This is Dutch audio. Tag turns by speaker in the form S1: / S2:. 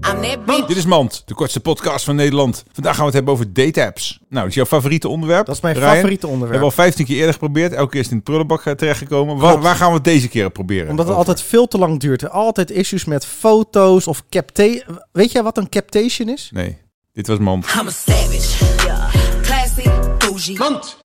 S1: aan, hè, Pip?
S2: Dit is Mand, de kortste podcast van Nederland. Vandaag gaan we het hebben over date-apps. Nou, dat is jouw favoriete onderwerp.
S3: Dat is mijn
S2: Ryan.
S3: favoriete
S2: We
S3: onderwerp.
S2: hebben al 15 keer eerder geprobeerd. Elke keer is het in de prullenbak eh, terechtgekomen. Waar, waar gaan we het deze keer proberen?
S3: Omdat het
S2: Over?
S3: altijd veel te lang duurt. Altijd issues met foto's of captation. Weet jij wat een captation is?
S2: Nee, dit was Mand.
S1: I'm a savage. Classy, bougie.